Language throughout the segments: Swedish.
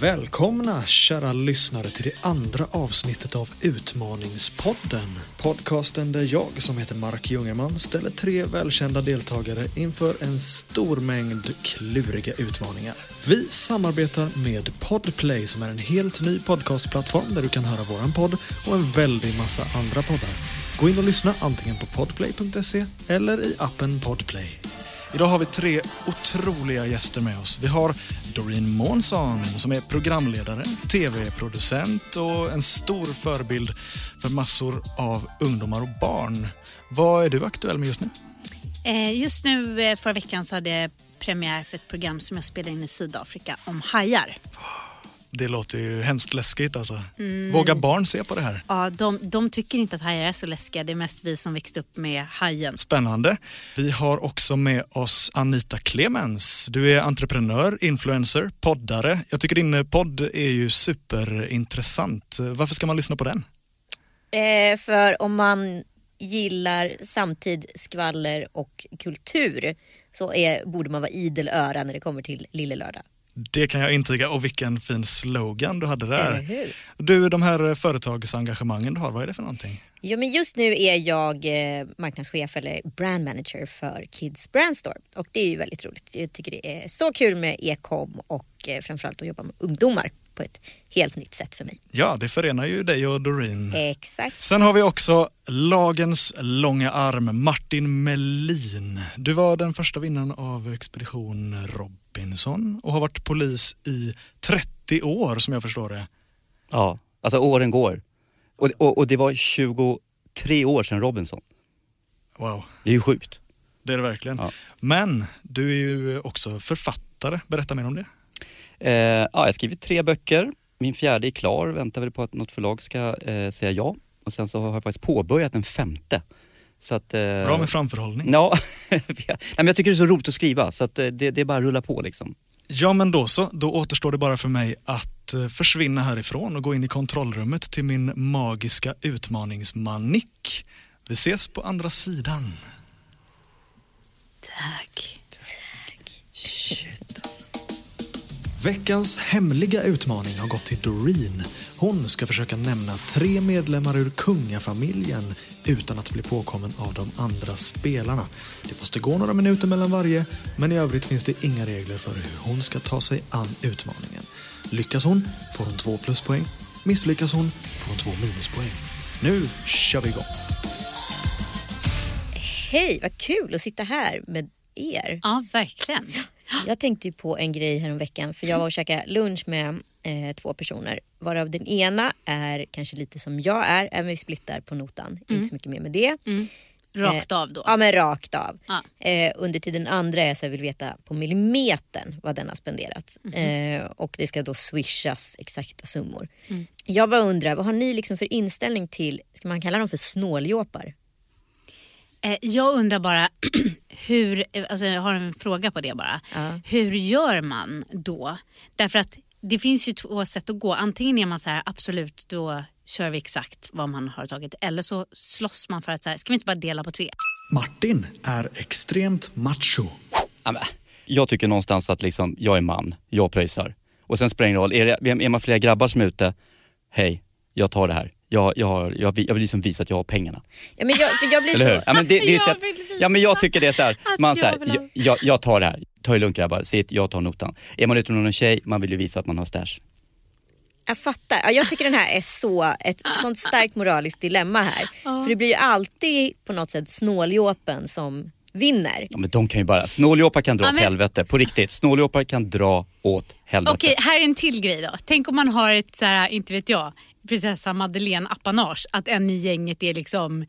Välkomna kära lyssnare till det andra avsnittet av Utmaningspodden. Podcasten där jag som heter Mark Jungerman ställer tre välkända deltagare inför en stor mängd kluriga utmaningar. Vi samarbetar med Podplay som är en helt ny podcastplattform där du kan höra våran podd och en väldig massa andra poddar. Gå in och lyssna antingen på podplay.se eller i appen Podplay. Idag har vi tre otroliga gäster med oss. Vi har Doreen Månsson som är programledare, tv-producent och en stor förebild för massor av ungdomar och barn. Vad är du aktuell med just nu? Eh, Just nu eh, förra veckan så hade jag premiär för ett program som jag spelade in i Sydafrika om hajar. Det låter ju hemskt läskigt alltså. Vågar barn se på det här? Ja, de, de tycker inte att hajar är så läskiga, det är mest vi som växte upp med hajen. Spännande. Vi har också med oss Anita Clemens. Du är entreprenör, influencer, poddare. Jag tycker din podd är ju superintressant. Varför ska man lyssna på den? Eh, för om man gillar samtid, skvaller och kultur så är, borde man vara idel öra när det kommer till Lille Lördag. Det kan jag intyga och vilken fin slogan du hade där. Eller hur? Du, de här företagsengagemangen du har, vad är det för någonting? Ja, men just nu är jag eh, marknadschef eller brand manager för Kids Brand Store och det är ju väldigt roligt. Jag tycker det är så kul med e-com och eh, framförallt att jobba med ungdomar på ett helt nytt sätt för mig. Ja, det förenar ju dig och Eh. Doreen. Exakt. Sen har vi också lagens långa arm, Martin Melin. Du var den första vinnaren av Expedition Robinson och har varit polis i 30 år som jag förstår det. Ja, alltså åren går. Och, och, och det var 23 år sedan Robinson. Wow, Det är ju sjukt. det är det verkligen. Ja. Men du är ju också författare, berätta mer om det. Eh, ja, jag har skrivit tre böcker. Min fjärde är klar, väntar väl på att något förlag ska eh, säga ja. Och sen så har jag faktiskt påbörjat den femte. Så att, eh, Bra med framförhållning. Ja, Nej, men jag tycker det är så roligt att skriva så att eh, det, det är bara att rulla på liksom. Ja men då så, då återstår det bara för mig att eh, försvinna härifrån och gå in i kontrollrummet till min magiska utmaningsmanik. Vi ses på andra sidan. Tack. Veckans hemliga utmaning har gått till Doreen. Hon ska försöka nämna tre medlemmar ur kungafamiljen utan att bli påkommen av de andra spelarna. Det måste gå några minuter mellan varje, men i övrigt finns det inga regler för hur hon ska ta sig an utmaningen. Lyckas hon får hon två pluspoäng. Misslyckas hon får hon två minuspoäng. Nu kör vi igång! Hej, vad kul att sitta här med er. Ja, verkligen. Jag tänkte ju på en grej häromveckan för jag var och käkade lunch med eh, två personer varav den ena är kanske lite som jag är, även vi splittar på notan. Inte så mycket mer med det. Mm. Eh, Rakt av då. Ja men rakt av. Ja. Eh, under tiden den andra är så jag vill veta på millimetern vad den har spenderat. Mhm. eh, och det ska då swishas exakta summor. Mm. Jag bara undrar, vad har ni liksom för inställning till, ska man kalla dem för snåljåpar? Eh, Jag undrar bara, hur, eh, alltså jag har en fråga på det bara. Hur gör man då? Därför att det finns ju två sätt att gå. Antingen är man så här, absolut då kör vi exakt vad man har tagit. Eller så slåss man för att, så här, ska vi inte bara dela på tre? Martin är extremt macho. Ja, men, Jag tycker någonstans att liksom, jag är man, jag pröjsar. Och sen spelar det ingen roll, är, det, är man flera grabbar som är ute, hej, jag tar det här. Jag, jag, har, jag, vill- jag vill liksom visa att jag har pengarna. Ja, men jag, för jag blir Eller hur? så, Ja, men det, det är ett Jag sätt, vill visa ja, men jag tycker det är så här, att man så här, jag vill ha- jag, jag, jag tar det här. Ta det lugnt grabbar, sitt, jag tar notan. Är man ute med någon tjej, man vill ju visa att man har stash. Jag fattar. Ja, jag tycker den här är så, ett sånt starkt moraliskt dilemma här. För det blir ju alltid på något sätt snåljåpen som vinner. Ja, men de kan ju bara, snåljåpar kan dra Ja, åt men- helvete, på riktigt. Snåljåpar kan dra åt helvete. Okej, här är en till grej då. Tänk om man har ett, så här, inte vet jag, prinsessa Madeleine-apanage. Att en i gänget är liksom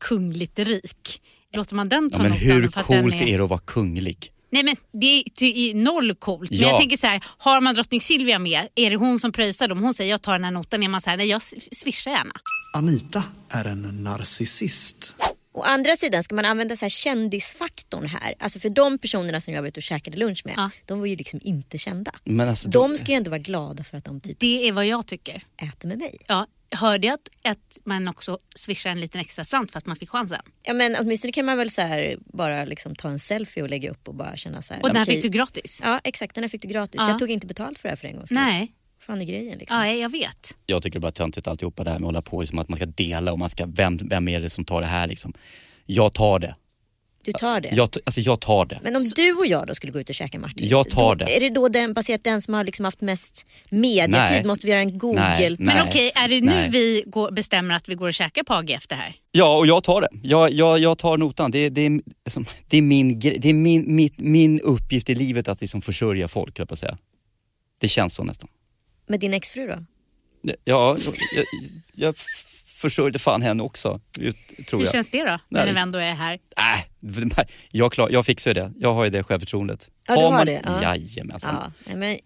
kungligt rik. Låter man den ta Ja, men notan hur för att den coolt är det att vara kunglig? Nej men det är ty- i noll coolt. Men Ja. jag tänker så här, har man drottning Silvia med, är det hon som pröjsar dem? Hon säger jag tar den här notan, är man så här, nej jag s- swishar gärna. Anita är en narcissist. Å andra sidan, ska man använda så här kändisfaktorn här? Alltså för de personerna som jag var ute och käkade lunch med, Ja. de var ju liksom inte kända. Men alltså, De ska ju ändå vara glada för att de typ Det är vad jag tycker. äter med mig. Ja, hörde jag att, att man också swishar en liten extra slant för att man fick chansen. Ja men åtminstone kan man väl så här bara liksom ta en selfie och lägga upp och bara känna så här. Och den här okej. fick du gratis. Ja exakt, den här fick du gratis. Ja. Jag tog inte betalt för det här för en gångs skull. Nej, Vad fan är grejen liksom? ja, jag vet. Jag tycker det är bara töntigt alltihopa det här med att hålla på liksom, att man ska dela och man ska, vem, vem är det som tar det här liksom? Jag tar det. Du tar det. Jag, t- alltså jag tar det. Men om du och jag då skulle gå ut och käka Martin. Jag tar då, det. Är det då den, baserat den som har liksom haft mest mediatid? Nej. Måste vi göra en Google? Nej. Men okej, är det nu nej. vi går, bestämmer att vi går och käkar på AG efter det här? Ja, och jag tar det. Jag, jag, jag tar notan. Det, det, är- liksom, det är, min, gre- det är min, mitt, min uppgift i livet att liksom försörja folk, höll jag på att säga. Det känns så nästan. Med din exfru då? Ja, jag, jag, jag f- försörjde fan henne också, ut- tror Hur jag. känns det då? Nej. När vi ändå är här. Äh, de här- jag, klar, jag fixar ju det. Jag har ju det självförtroendet. Ja, du har man, det, ja. Jajamensan. Ja, nej, men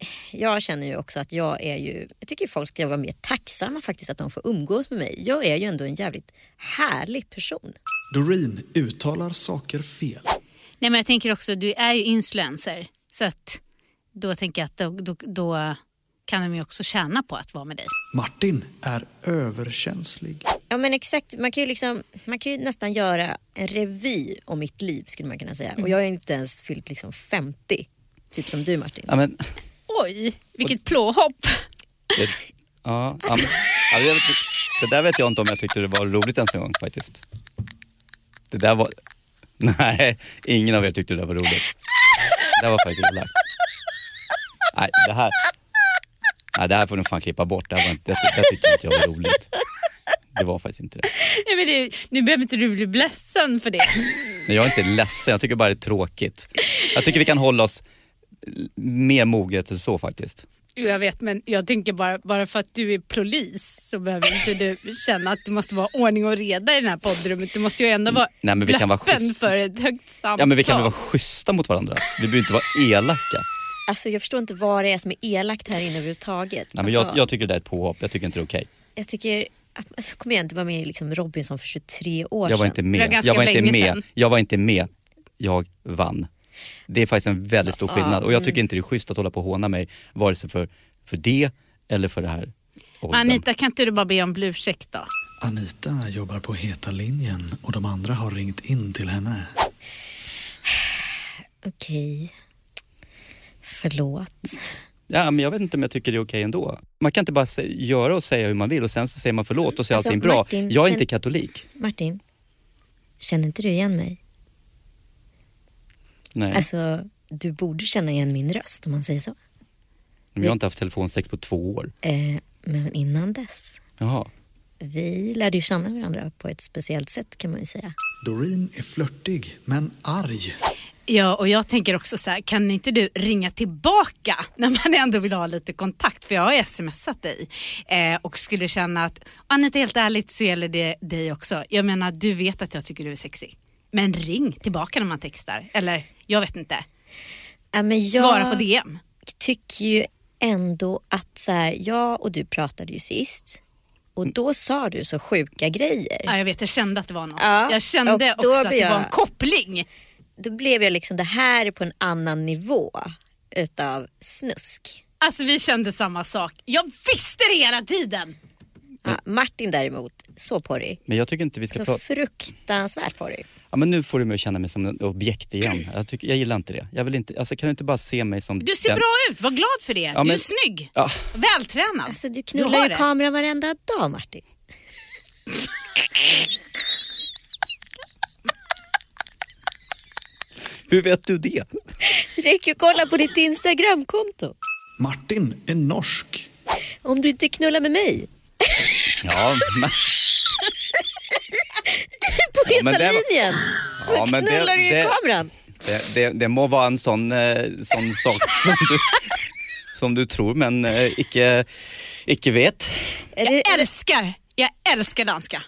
jag känner ju också att jag är ju, jag tycker folk ska vara mer tacksamma faktiskt att de får umgås med mig. Jag är ju ändå en jävligt härlig person. Doreen uttalar saker fel. Nej men jag tänker också, du är ju influencer. Så att då tänker jag att då, då, då kan de ju också tjäna på att vara med dig. Martin är överkänslig. Ja men exakt, man kan ju, liksom, man kan ju nästan göra en revy om mitt liv skulle man kunna säga. Mm. Och jag är inte ens fyllt liksom 50, typ som du Martin. Ja, men, Oj, vilket plåhopp. det, ja, ja, men, ja, det, det där vet jag inte om jag tyckte det var roligt ens en gång faktiskt. Det där var... Nej, ingen av er tyckte det där var roligt. Det där var faktiskt elakt. Nej, det här... Nej, det här får ni fan klippa bort. Det, här var inte, det, det tyckte inte jag var roligt. Det var faktiskt inte det. Nej, men det, nu behöver inte du bli ledsen för det. Nej, jag är inte ledsen, jag tycker bara det är tråkigt. Jag tycker vi kan hålla oss mer moget än så faktiskt. Jo, Jag vet, men jag tänker bara, bara för att du är polis så behöver inte du känna att det måste vara ordning och reda i det här poddrummet. Du måste ju ändå vara Mm. Nej, men vi kan vara öppen schysst. för ett högt samtal. Ja men vi kan väl vara schyssta mot varandra? Vi behöver inte vara elaka. Alltså jag förstår inte vad det är som är elakt här inne överhuvudtaget. Nej, men alltså, jag, jag tycker det där är ett påhopp, jag tycker inte det är okej. jag tycker, alltså, kom igen, du var med i liksom Robinson för 23 år Jag var sedan. inte Det var med. ganska Jag var inte länge med. sedan. Jag var inte med. Jag vann. Det är faktiskt en väldigt stor skillnad och jag tycker Mm. inte det är schysst att hålla på och håna mig vare sig för, för det eller för det här. åldern. Anita, kan inte du bara be om ursäkt då? Anita jobbar på Heta linjen och de andra har ringt in till henne. Okej, förlåt. Ja, men jag vet inte om jag tycker det är okej ändå. Man kan inte bara se, göra och säga hur man vill och sen så säger man förlåt och så är Alltså, allting bra. Martin, jag är känn- inte katolik. Martin, känner inte du igen mig? Nej, Alltså, du borde känna igen min röst om man säger så. men jag har inte haft telefonsex på två år. Eh, men innan dess, Jaha. vi lärde ju känna varandra på ett speciellt sätt kan man ju säga. Doreen är flörtig, men arg. Ja, och jag tänker också så här, kan inte du ringa tillbaka när man ändå vill ha lite kontakt? För jag har smsat dig eh, och skulle känna att, Anita helt ärligt så gäller det dig också. Jag menar, du vet att jag tycker du är sexig. Men ring tillbaka när man textar, eller jag vet inte. Ja, men jag Svara på DM. tycker ju ändå att så här, jag och du pratade ju sist Mm. och då sa du så sjuka grejer. Ja, jag vet, jag kände att det var något. Ja, jag kände och då också att det blir var jag- en koppling. Då blev jag liksom, det här är på en annan nivå utav snusk. Alltså vi kände samma sak. Jag visste det hela tiden. Mm. Ja, Martin däremot, så porrig. Men jag tycker inte vi ska Så Alltså, prata... fruktansvärt porrig. Ja, men nu får du mig att känna mig som ett objekt igen. Jag, tycker, jag gillar inte det. Jag vill inte... Alltså, kan du inte bara se mig som... Du ser den- bra ut, var glad för det. Du men- är snygg, Ja, vältränad. Alltså du har knullar ju det. kameran varenda dag Martin. hur vet du det? Det räcker ju att kolla på ditt Instagramkonto. Martin är norsk. Om du inte knullar med mig Ja, men, på Ja, heta men det var- linjen så Ja, men det- knullar du ju i det- kameran. det, det, det må vara en sån, eh, sån sak som du, som du tror men eh, icke, icke vet. Är det, Jag älskar, jag älskar danska.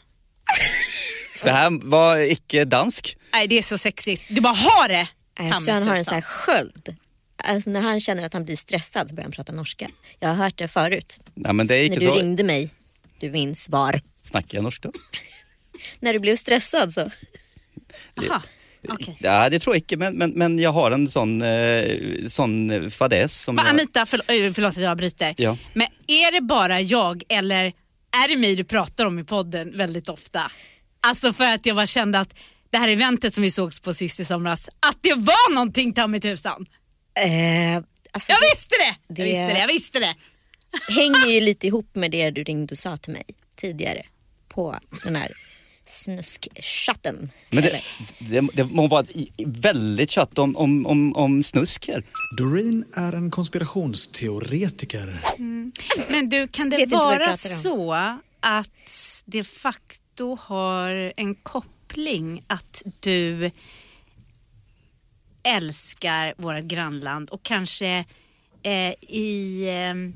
Det här var icke dansk. Nej det är så sexigt. Du bara har det. typ Nej, jag tror han har en sån här sköld. Alltså när han känner att han blir stressad så börjar han prata norska. Jag har hört det förut. Nej, men det är När icke du så. ringde mig, du minns var. Snackar jag norska? När du blev stressad så. Jaha, okej. Ja, det tror jag inte, men, men, men jag har en sån, eh, sån fadäs. Som Va, jag... Anita, förl- ö, förlåt att jag bryter. Ja. Men är det bara jag eller är det mig du pratar om i podden väldigt ofta? Alltså för att jag bara kände att det här eventet som vi sågs på sist i somras, att det var någonting ta mig tusan. Eh, alltså, Jag visste det! Det- Jag visste det, jag visste det. det hänger ju lite ihop med det du ringde och sa till mig tidigare på den här snuskchatten. Men det, Eller- det, det må vara ett i- väldigt kött om, om, om, om snusk här. Doreen är en konspirationsteoretiker. Men du, kan Vet det inte vad vara vi pratar om. så att de facto har en koppling att du älskar vårt grannland och kanske eh, i, eh,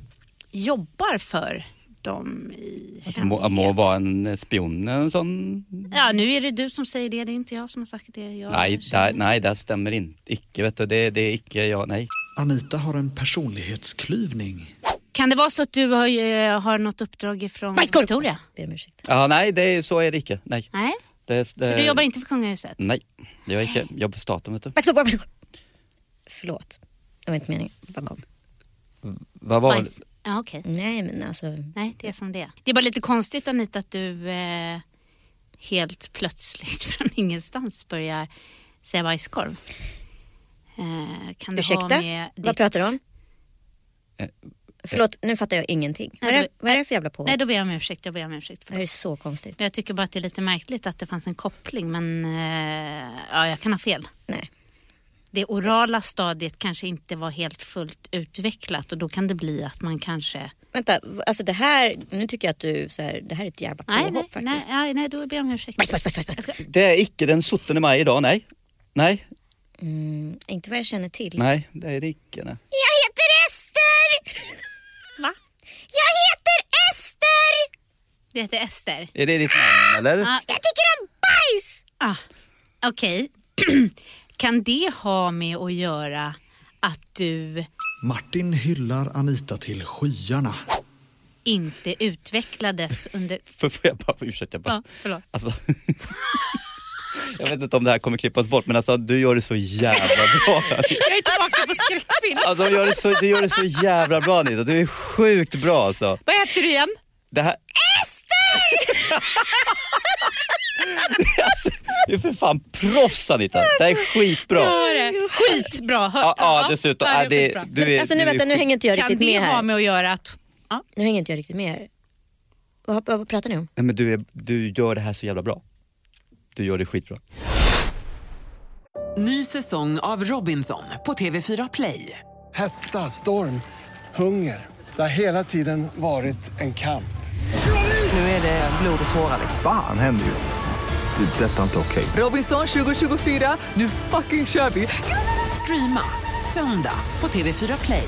jobbar för dem i Det må, må vara en eh, spion eller en sån. Ja, nu är det du som säger det, det är inte jag som har sagt det. Jag Nej, där, nej, det stämmer inte. Icke, vet du. Det, det är icke jag, nej. Anita har en personlighetsklyvning. Kan det vara så att du har, eh, har något uppdrag ifrån Bajskorv! Victoria? Ber om ursäkt. Ja, nej, det, är- så är det icke. Nej. Nej, Det, det, så du jobbar inte för kungahuset? Nej, det gör jag icke. Jag är på staten, vet du. Bajskorv, bajskorv. Förlåt, det var inte meningen. Bara kom. Vad var Bajs. Ja, okej. Nej men alltså, Nej, det är som det är. Det är bara lite konstigt Anita att du eh, helt plötsligt från ingenstans börjar säga bajskorv. Eh, kan du ha ursäkta? med Vad pratar du om? Eh, Förlåt, nu fattar jag ingenting. Vad är, det- du- vad är det för jävla på? Nej, då ber jag om ursäkt. Jag ber om ursäkt. Det här För är så konstigt. jag tycker bara att det är lite märkligt att det fanns en koppling men eh, ja, jag kan ha fel. Nej. Det orala stadiet kanske inte var helt fullt utvecklat och då kan det bli att man kanske... Vänta, v- alltså det här, nu tycker jag att du, så här, det här är ett jävla påhopp Nej, nej, faktiskt. nej, nej, nej, då ber jag om ursäkt. Bajs, bajs, bajs, bajs, bajs. det? Det är icke den 17 maj idag, nej. Nej, Mm, inte vad jag känner till. nej, det är det icke. Nej. Jag heter Ester! Va? Jag heter Ester! Mm. Det heter Ester. Är det ditt namn, eller? Ah, Jag tycker om bajs! Ah, Okej. kan det ha med att göra att du Martin hyllar Anita till skyarna. inte utvecklades under... För, får jag bara, ursäkta, jag bara. Ja, förlåt. Alltså, jag vet inte om det här kommer klippas bort men alltså du gör det så jävla bra. Jag är tillbaka på skräckfilm. Alltså, du, gör det så, du gör det så jävla bra Anita, du är sjukt bra alltså. Vad heter du igen? Det här... Ester! alltså, du är för fan proffs Anita, det här är skitbra. Skitbra. Hör- Ja, ja dessutom. det här Ja, är det, skitbra. du är, Alltså nu du är vänta, nu hänger inte jag Kan riktigt det med ha här. med att göra att... Ja, Nu hänger inte jag riktigt med här. Vad, vad, vad pratar ni om? Nej, men du, är, du gör det här så jävla bra. Du gör det skitbra. Ny säsong av Robinson på TV4 Play. Hetta, storm, hunger. Det har hela tiden varit en kamp. Nu är det blod och tårar. Fan händer just det. Det är detta inte okej. Robinson 2024, nu fucking kör vi! Streama söndag på TV4 Play.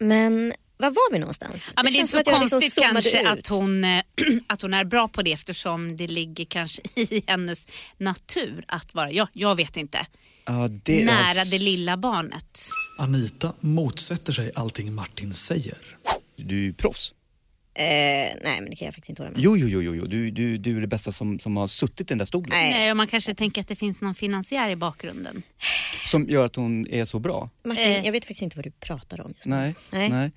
Men var var vi någonstans? Ja, men det är känns inte som så att jag konstigt liksom zoomade kanske ut. att hon, eh, att hon är bra på det eftersom det ligger kanske i hennes natur att vara, ja, jag vet inte, Ja, det, nära det lilla barnet. Anita motsätter sig allting Martin säger. Du är proffs. Eh, nej men det kan jag faktiskt inte hålla med om. Jo, jo, jo, jo, jo. Du, du, du är det bästa som, som har suttit i den där stolen. Nej. Nej, och man kanske tänker att det finns någon finansiär i bakgrunden. Som gör att hon är så bra. Martin, Eh. jag vet faktiskt inte vad du pratar om just nu. Nej. Nej.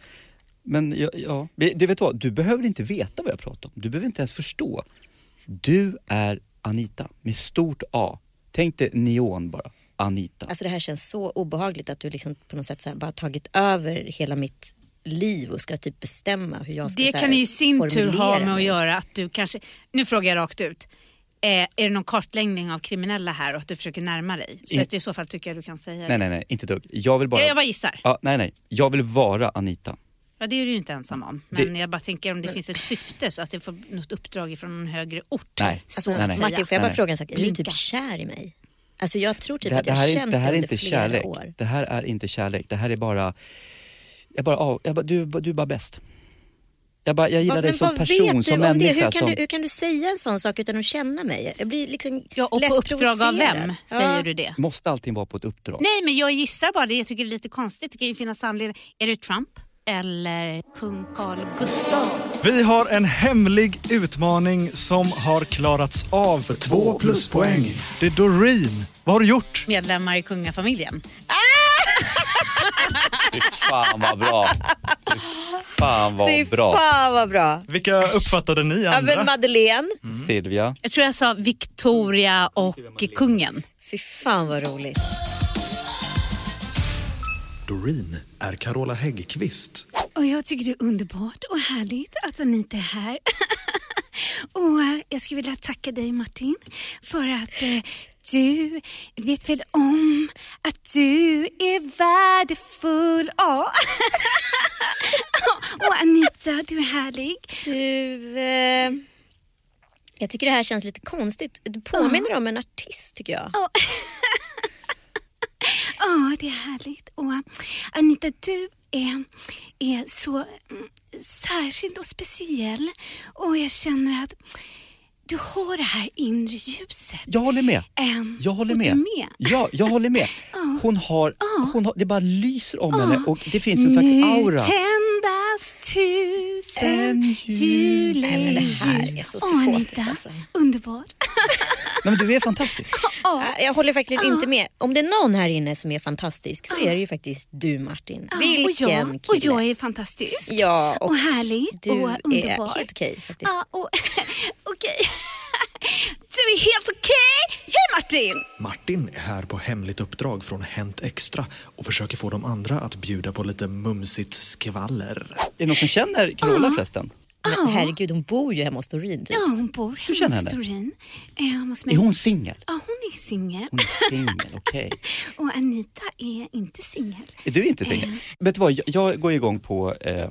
Men ja, ja. Vi- Du vet vad, du behöver inte veta vad jag pratar om. Du behöver inte ens förstå. Du är Anita med stort A. Tänk dig neon bara. Anita. Alltså det här känns så obehagligt att du liksom på något sätt så här bara tagit över hela mitt liv och ska typ bestämma hur jag ska Det så här kan i sin tur ha formulera med att mig. göra att du kanske, nu frågar jag rakt ut, eh, är det någon kartläggning av kriminella här och att du försöker närma dig? Så I- att i så fall tycker jag du kan säga Nej, det. nej, nej, inte ett dugg. Jag vill bara... Jag- jag bara gissar. Typ Ja, nej, nej. Jag vill vara Anita. Ja, det är du ju inte ensam om. Men jag bara tänker om det finns ett syfte så att du får något uppdrag från en högre ort. Nej. Så Alltså, att Nej, nej. säga. Martin, får jag Nej, bara nej. fråga en sak? Är du Blinka. typ kär i mig? Alltså jag tror typ Det, här- att det jag har här, är- känt det här är under inte flera kärlek. år. Det här är inte kärlek. Det här är bara... Jag bara, ja, jag bara du, du är bara bäst. Jag, bara, jag gillar Vad- dig men som vad person, vet du som om det? människa. Hur kan, som, du, hur kan du säga en sån sak utan att känna mig? Jag blir liksom Ja, och lätt på uppdrag av provocerad. vem Ja. säger du det? Måste allting vara på ett uppdrag? Nej, men jag gissar bara det. Jag tycker det är lite konstigt. Det kan ju finnas anledning. Är det Trump eller kung Carl Gustaf? Vi har en hemlig utmaning som har klarats av för två pluspoäng. Det är Doreen. Vad har du gjort? Medlemmar i kungafamiljen. Fy fan vad bra. Fy fan Fy vad bra. fan vad bra. Vilka uppfattade ni Ja, men andra? Madeleine. Mm. Mm. Silvia. Jag tror jag sa Victoria och kungen. Fy fan vad roligt. Doreen är Carola Häggkvist. Och jag tycker det är underbart och härligt att Anita är här. och eh, jag skulle vilja tacka dig Martin för att eh, du vet väl om att du är värdefull. Ja. och Anita, du är härlig. Du, eh, jag tycker det här känns lite konstigt. Du Ah. påminner om en artist tycker jag. Ja, det är härligt. Och eh, Anita, du är, är så mm, särskild och speciell och jag känner att du har det här inre ljuset. Jag håller med. Ehm, Jag håller och med. du med? Ja, jag håller med. Hon har, hon har, det bara lyser om henne och det finns en slags nu aura. tändas tusen En jul. juleljus. Nej, men det här är så Åh, psykotiskt, Ah, Anita, alltså. underbart. Nej, men du är fantastisk. Ah. Nej, Jag håller verkligen inte med. Om det är någon här inne som är fantastisk så är det ju faktiskt du Martin. Ja, Vilken Ah. och jag, kille. Och jag är fantastisk. Ja, och och, härlig du och är underbar. helt okej faktiskt. Ja, och, okej. Du är helt okej. Hej Martin! Martin är här på hemligt uppdrag från Hänt Extra och försöker få de andra att bjuda på lite mumsigt skvaller. Är det någon som känner Carola förresten? Men herregud, hon bor ju hemma hos Doreen typ. Ja, hon bor hemma känner hos henne? Doreen. Eh, hos mig. Är hon singel? Ja, hon är singel. Hon är singel, okej. Och Anita är inte singel. Är du inte singel? Vet du vad, jag, jag går igång på, eh,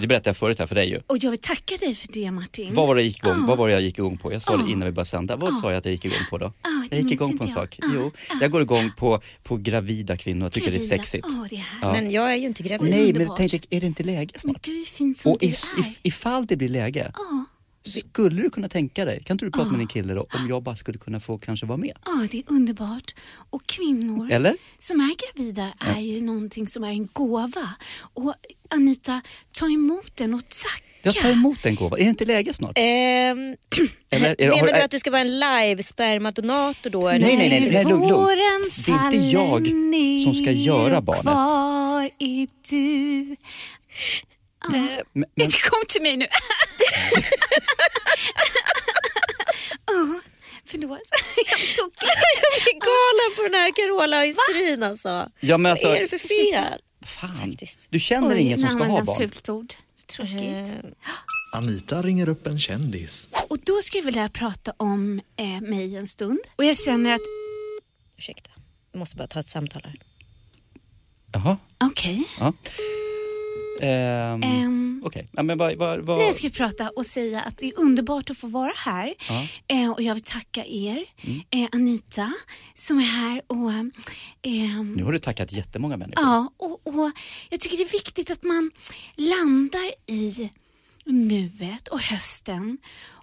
det berättade jag förut här för dig ju. Och jag vill tacka dig för det Martin. Vad var, det jag gick igång, Ah. vad var det jag gick igång på? Jag sa det innan vi började sända. Vad sa jag att jag gick igång på då? det jag gick Ah. minns igång inte på en jag. Ah, sak. Jo, jag går igång på, på gravida kvinnor. Jag tycker det är Gravida. sexigt. Åh, det är härligt. Ja. Men jag är ju inte gravid. Nej, men underbart. tänkte, jag, är det inte läge snart? Men du är fin som Och du if, är. Ah. if, ifall det blir läge, skulle du kunna tänka dig, kan inte du prata med din kille då, om jag bara skulle kunna få kanske vara med? Ja, det är underbart. Och kvinnor Eller? som är gravida är ju någonting som är en gåva. Och Anita, ta emot den och tacka. Jag tar emot en gåva. Är det inte läge snart? Eh, Ehm, Eller, är det- menar har- du är- att du ska vara en live spermadonator då? eller? Nej, nej, nej, nej, lugn, lugn. Våren Det är inte jag faller som ska göra ner och barnet. Kvar är du. Ah. Men- men- Inte kom till mig nu. Åh, Oh, förlåt, jag blir tokig. Jag blir galen på den här Carola hysterin alltså. Ja, men alltså, Vad är det för fel? fan, Faktiskt. du känner Oj, ingen som nu ska använde ha jag barn. Eh. fult ord. Tråkigt. Ehm. Anita ringer upp en kändis. Och då skulle jag vilja prata om eh, mig en stund. Och jag känner att, Ursäkta, jag måste bara ta ett samtal här. Jaha, okej. ja. Ehm, Ehm. Okej, ja, men vad... vad, vad Nej, jag ska prata och säga att det är underbart att få vara här. Eh, och jag vill tacka er, eh, Anita, som är här. Och, ehm, Nu har du tackat jättemånga människor. ja, och, och Jag tycker det är viktigt att man landar i nuet och hösten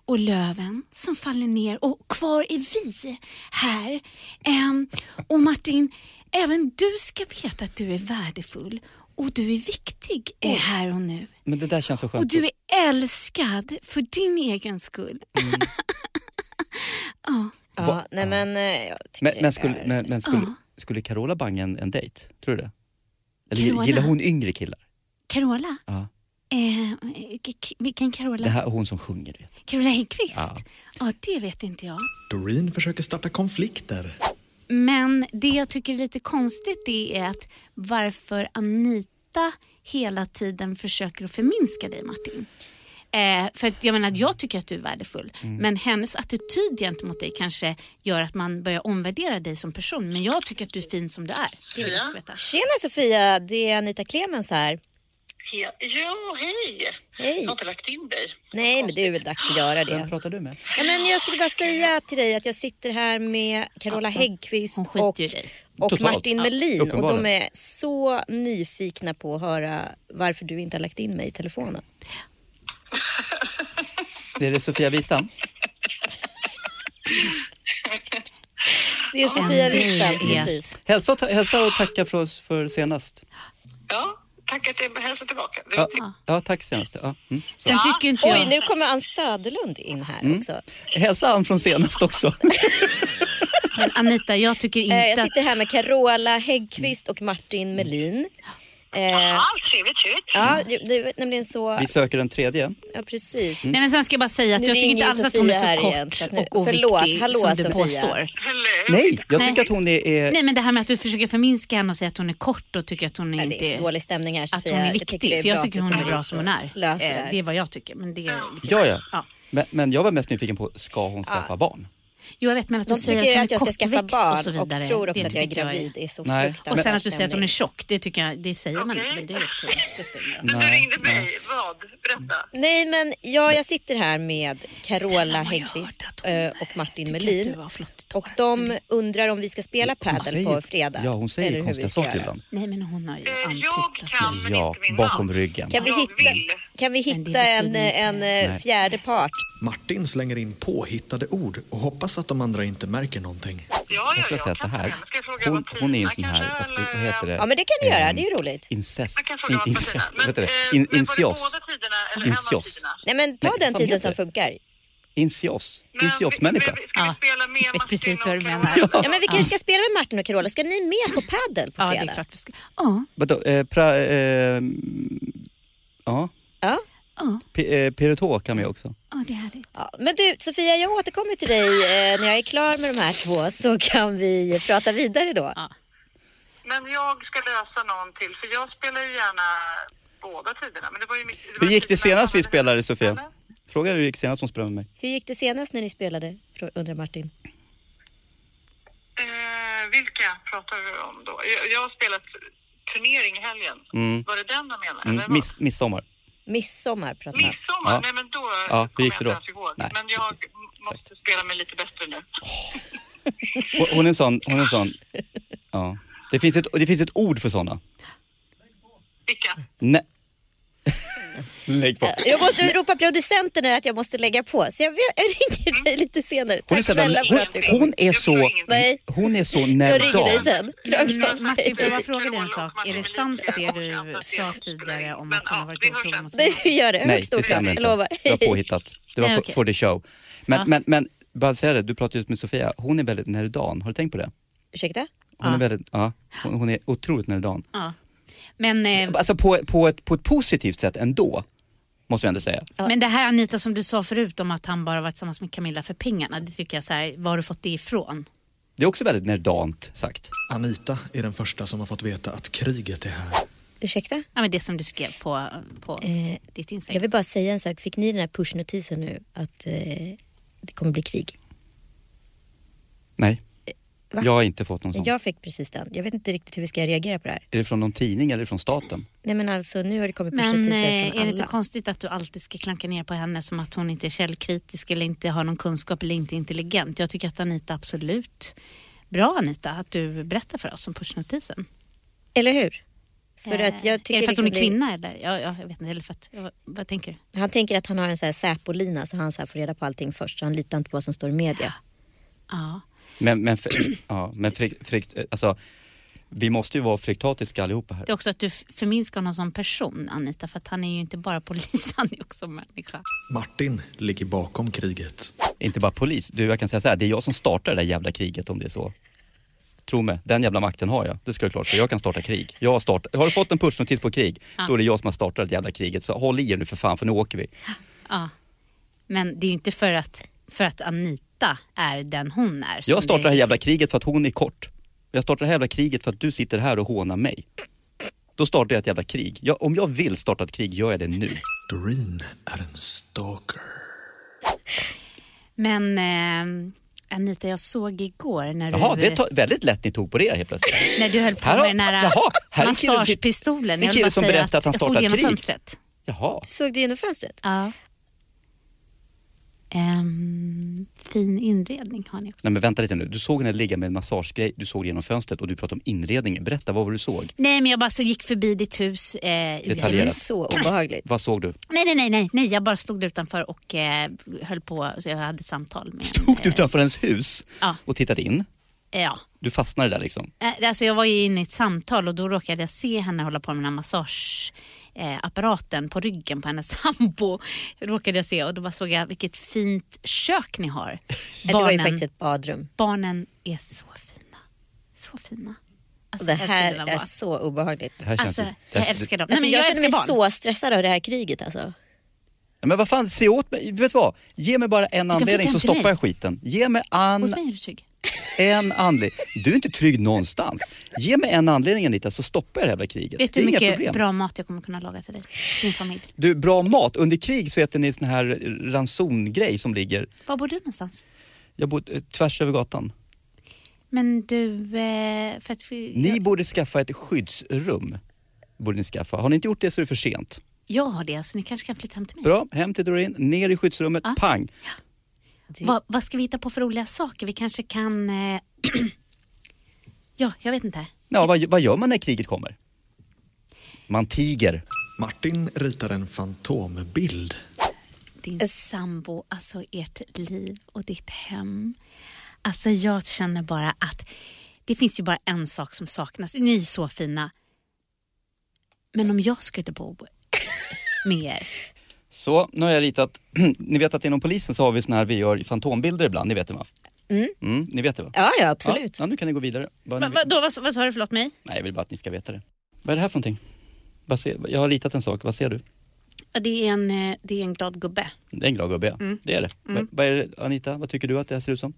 och löven som faller ner och kvar är vi här. Ehm, och Martin, även du ska veta att du är värdefull och du är viktig eh, här och nu. Men det där känns så skönt. Och du är älskad för din egen skull. Ja, nej men eh, jag tycker Men, men, det skulle, är- men, men skulle, skulle Carola banga en, en dejt? Tror du det? Eller Carola? gillar hon yngre killar? Carola? Ja. Eh, k- k- vilken Carola? Det här hon som sjunger, du vet. Carola Häggkvist? Ja. Ja. det vet inte jag. Doreen försöker starta konflikter. Men det jag tycker är lite konstigt det är att varför Anita hela tiden försöker att förminska dig Martin. Eh, för att jag menar, jag tycker att du är värdefull. Mm. Men hennes attityd gentemot dig kanske gör att man börjar omvärdera dig som person. Men jag tycker att du är fin som du är. Det vill jag veta. Tjena Sofia, det är Anita Clemens här. Ja, ja hej. Hej. Jag har inte lagt in dig. Nej, men det är väl dags att göra det. Vem pratar du med? Ja, men jag skulle bara säga till dig att jag sitter här med Carola Häggkvist och, och Totalt. Martin Ja. Melin och de Uppenbarligen. är så nyfikna på att höra varför du inte har lagt in mig i telefonen. Det är det Sofia Wistam? Det är Sofia En del Wistam, i precis. Hälsa och, ta- hälsa och tacka för oss för senast. Ja, tack att jag hälsar tillbaka. Det- Ja, ja tack senast. Ja. Mm. Sen tycker inte jag... Oj, nu kommer Ann Söderlund in här Mm. också. Eh, Hälsa han från senast också. Men Anita, jag tycker inte Eh, Jag sitter att... här med Carola Häggkvist och Martin Melin. Eh, Ja, trevligt, trevligt. ja, ju- det är nämligen så... Vi söker en tredje. Ja, precis. Nej, men sen ska jag bara säga att Nu jag tycker ringer inte ju alls att hon är Sofia här så kort igen, så att nu- och oviktig Förlåt, hallå, som du Sofia. Eh. påstår. Hello. Nej, jag Nej. tycker att hon är... är Nej men det här med att du försöker förminska henne och säga att hon är kort och tycker att hon är Ja, inte det är så dålig stämning här att Sofia. hon är Jag viktig. tycker det för jag bra tycker att hon du är kommer bra hit som och hon är. löser det Eh, här. Det är vad jag tycker. Men det är vilket- ja, ja. ja. Men, men jag var mest nyfiken på, ska hon skaffa barn? Jo jag vet men att du De säger tycker att att hon är jag ska skaffa kortväxt barn och så och vidare. tror också det att jag är tycker gravid. Det är så Nej. fruktansvärt Och sen att du säger att hon är stämning. tjock, det tycker jag, det säger man inte. Okej. Men det är upp till- det spelar ingen roll. Mm. Du ringde mig. Vad? Berätta. Nej men ja, jag sitter här med Carola Sällan har jag Häggkvist hört att hon eh, och Martin tycker att Melin. du har flott Och hår. de undrar om vi ska spela Hon padel säger- på fredag. Ja, hon eller säger hur vi konstiga ska saker göra. ibland. Nej men hon har ju Eh, antytt Jag att kan, men Ja, inte min bakom man. ryggen. Kan vi Jag hitta, vill. kan vi Men det hitta en, betyder en eh, Nej. fjärde part? Martin slänger in påhittade ord och hoppas att de andra inte märker någonting. Ja, Jag ja, skulle ja. säga så kan här. jag Ska jag fråga Hon, Martina hon är ju en sån här, vad, kanske, ska, vad heter det? Ja men det kan du göra, Ehm, det är ju roligt. Incest. eh, Man kan fråga Inte Martina. incest, Men, vad heter det? eh, In, men incios. Var det båda tiderna eller en av Incios. tiderna? Nej men ta Nej, den vad tiden heter som det? funkar. Incios. Men Inciosmänniska. vi- vi- Ska vi spela med Jag vet Martin precis och vad du Carola? menar. Ja men vi kanske ska spela med Martin och Carola. Ska ni med på padel på Ja, fredag? det är klart vi ska. Ja, Vadå? Eh, pra, eh, ja, Ja. P- eh, Piretå kan vi också. ja det är härligt. Ja, men du Sofia, jag återkommer till dig eh, när jag är klar med de här två så kan vi prata vidare då. Men jag ska lösa någon till, för jag spelar ju gärna båda tiderna. Men det var typ ju mitt, Hur gick det senast vi spelade Eller? Sofia? Fråga hur det gick senast hon spelade med mig. Hur gick det senast när ni spelade? Frå- undrar Martin. Eh, vilka pratar vi om då? Jag, jag har spelat turnering i helgen. Var det den de menade? eller Mm, vad? miss, midsommar. Midsommar pratar man. Midsommar? Ja. Nej, men då hur kommer gick det jag då? inte ens ihåg. Nej, men jag precis. m- måste spela mig lite bättre nu. Hon- Hon är en sån, hon är en sån. Ja. Det finns ett, det finns ett ord för såna. Vilka? Nej. Lägg på. Jag måste ropa producenten här att jag måste lägga på så jag, vet- jag ringer dig lite senare. Hon är, Tack så, snälla för hon, att du kom. hon är så, Nej. hon är så Jag ringer dig nervdal. sen. Kram, Men kram. Mm, Martin, får jag bara Hej. fråga dig en sak? Är det sant det du sa tidigare om att hon har varit otrogen mot Nej, vi gör det. Nej, Högst det stämmer oklart. Jag lovar. inte. Det var påhittat. Det var Nej, for, okej. for the show. Men, Ja. men, men, bara säga det, du pratade just med Sofia. Hon är väldigt nerdan. Har du tänkt på det? Ursäkta? Hon är väldigt, ja. Hon, hon är otroligt nerdan. Ja. Men, eh, Alltså på, på, ett, på ett positivt sätt ändå, måste jag ändå säga. men det här Anita som du sa förut om att han bara var tillsammans med Camilla för pengarna. Det tycker jag så här, var har du fått det ifrån? Det är också väldigt nerdant sagt. Anita är den första som har fått veta att kriget är här. Ursäkta? Ja, men det som du skrev på, på ditt Jag Instagram. vill bara säga en sak. Fick ni den här pushnotisen nu att eh, det kommer bli krig? Nej, Va? jag har inte fått någon sån. Jag fick precis den. Jag vet inte riktigt hur vi ska reagera på det här. Är det från någon tidning eller från staten? Nej men alltså nu har det kommit Men pushnotiser eh, från är det alla. inte konstigt att du alltid ska klanka ner på henne som att hon inte är källkritisk eller inte har någon kunskap eller inte är intelligent? Jag tycker att Anita absolut, bra Anita, att du berättar för oss om pushnotisen. Eller hur? För Eh, att jag tycker är det för att liksom hon är det- kvinna eller? Ja, ja, jag vet inte. Eller för att, vad, vad tänker du? han tänker att han har en så här Säpo-lina så han så här får reda på allting först. Så han litar inte på vad som står i media. Ja. Men, men, fr- ja, men frik, frik, alltså, vi måste ju vara friktatiska allihopa här. Det är också att du f- förminskar honom som person Anita för att han är ju inte bara polis, han är också människa. Martin ligger bakom kriget. Inte bara polis. Du, jag kan säga så här, det är jag som startar det där jävla kriget om det är så. Tro mig, den jävla makten har jag. Det ska jag klart för jag kan starta krig. Jag har, startat, har du fått en pushnotis på krig, då är det jag som har startat det jävla kriget. Så håll i er nu för fan, för nu åker vi. Men det är ju inte för att, för att Anita är den hon är. som Jag startar det här är- jävla kriget för att hon är kort. Jag startar det här jävla kriget för att du sitter här och hånar mig. Då startar jag ett jävla krig. Jag, om jag vill starta ett krig gör jag det nu. Doreen är en stalker. Men eh, Anita, jag såg igår när du, Jaha, det är väldigt lätt ni tog på det helt plötsligt. när du höll på Här har- med den här Jaha, här är en kille som sitter- massagepistolen. en Jag vill kille bara som säga berättar att han jag såg det startar genom krig. fönstret. Jaha. Du såg det genom fönstret? Ja. Ehm, fin inredning har ni också. Nej men vänta lite nu, du såg henne ligga med en massagegrej, du såg genom fönstret och du pratade om inredningen. Berätta, vad var det du såg? Nej, men jag bara så gick förbi ditt hus. Eh, i- Detaljerat. Det är så obehagligt. Vad såg du? Nej, nej, nej, nej, nej, jag bara stod där utanför och eh, höll på, så jag hade ett samtal med Tog du utanför ens hus Ja. och tittade in? Ja. Du fastnade där liksom? Eh, Alltså jag var ju inne i ett samtal och då råkade jag se henne hålla på med den här massageapparaten på ryggen på hennes sambo. Råkade jag se och då bara såg jag vilket fint kök ni har. Eh, Det var ju faktiskt ett badrum. Barnen är så fina. Så fina. Alltså, det jag älskar här dina är barn. så obehagligt. Det här känns Alltså, ju- det här- jag älskar dem. Nej, Alltså, men jag, jag, känner mig älskar barn. så stressad av det här kriget. Alltså. Men vad fan, se åt mig, vet du vad? Ge mig bara en kan anledning flytta så hem till stoppar mig. jag skiten. Ge mig Hos an, mig är du trygg. en anledning. Du är inte trygg någonstans. Ge mig en anledning Anita så stoppar jag det här jävla kriget. Vet det du är hur inga mycket problem. bra mat jag kommer kunna laga till dig? Din familj. Du, bra mat. Under krig så äter ni sån här ransongrej som ligger, Var bor du någonstans? jag bor eh, tvärs över gatan. Men du, eh, för att vi, Ni jag, borde skaffa ett skyddsrum. Borde ni skaffa. Har ni inte gjort det så är det för sent. jag har det så ni kanske kan flytta hem till mig. Bra, hem till Doreen, ner i skyddsrummet, Ja. pang. Vad, vad ska vi hitta på för roliga saker? Vi kanske kan... Eh, ja, jag vet inte. Ja, vad, vad gör man när kriget kommer? Man tiger. Martin ritar en fantombild. Din sambo, alltså ert liv och ditt hem. Alltså jag känner bara att det finns ju bara en sak som saknas. Ni är så fina. Men om jag skulle bo med er. Så, nu har jag ritat. ni vet att inom polisen så har vi såna här, vi gör fantombilder ibland, ni vet det va? Mm. ni vet det va? Ja, ja, absolut. Ja, ja, nu kan ni gå vidare. Vad Va, ni- va, då, vad, vad sa du? Förlåt mig. Nej, jag vill bara att ni ska veta det. Vad är det här för någonting? Vad ser, jag har ritat en sak, vad ser du? Ja, Det är en, eh, det är en glad gubbe. Det är en glad gubbe, ja. Mm. Det är det. Vad- Vad är det, Anita, vad tycker du att det här ser ut som?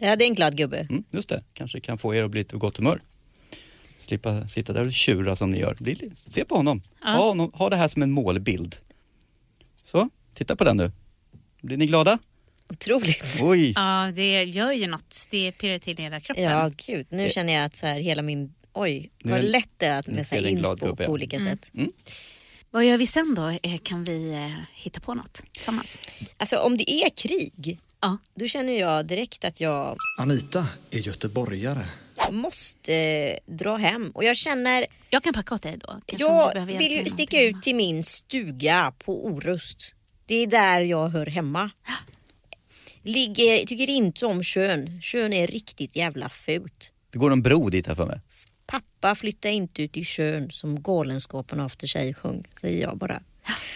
Ja, det är en glad gubbe. Mm, just det, kanske kan få er att bli lite på gott humör. Slippa sitta där och tjura som ni gör. Bli, li- se på honom. Ha, honom. ha det här som en målbild. Så, titta på den nu. Blir ni glada? Otroligt. Oj! Ja, det gör ju något. Det pirrar till i hela kroppen. Ja, gud. Nu känner jag att så här, hela min... Oj, Nu vad är- lätt det är att nu med så ser här jag en glad inspo gubbe, ja. på olika Mm. sätt. Vad gör vi sen då? Eh, Kan vi eh, hitta på något tillsammans? Alltså om det är krig, Ja. då känner jag direkt att jag Anita är göteborgare. måste eh, dra hem. Och jag känner, Jag kan packa åt dig då. Kanske om du jag behöver hjälp med vill ju någonting sticka ut hemma. till min stuga på Orust. Det är där jag hör hemma. Ligger, tycker inte om kön. Kön är riktigt jävla fult. Det går en bro dit här för mig. Pappa flyttar inte ut i kön som galenskapen efter sig sjöng, säger jag bara.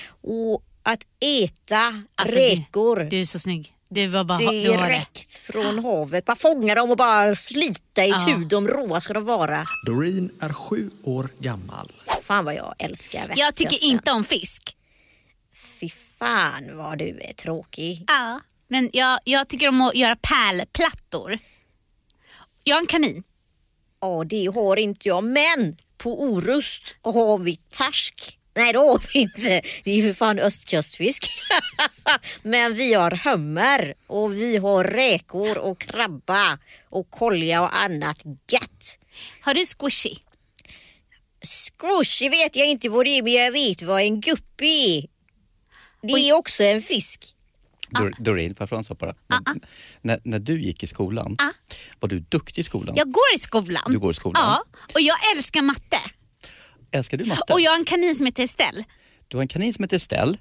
Och att äta Alltså, det- räkor Du är så snygg. Du var bara, du var det. direkt från havet. Bara fånga dem och bara slita i tu. De råa ska de vara. Doreen är sju år gammal. Fan vad jag älskar västkusten. Jag tycker inte om fisk. Fy fan vad du är tråkig. Ja. Men jag, jag tycker om att göra pärlplattor. Jag har en kanin. Ja, det har inte jag. Men på Orust har vi torsk. Nej, det har vi inte. Det är ju för fan östkustfisk. Men vi har hummer och vi har räkor och krabba och kolja och annat gött. Har du squishy? Squishy vet jag inte vad det är, men jag vet vad en guppy är. Det är också en fisk. Dor- Doreen, får jag fråga en sak bara? När, när, när du gick i skolan, var du duktig i skolan? Jag går i skolan. Du går i skolan. Ja, och jag älskar matte. Älskar du matte? Och jag har en kanin som heter Estelle. Du har en kanin som heter Estelle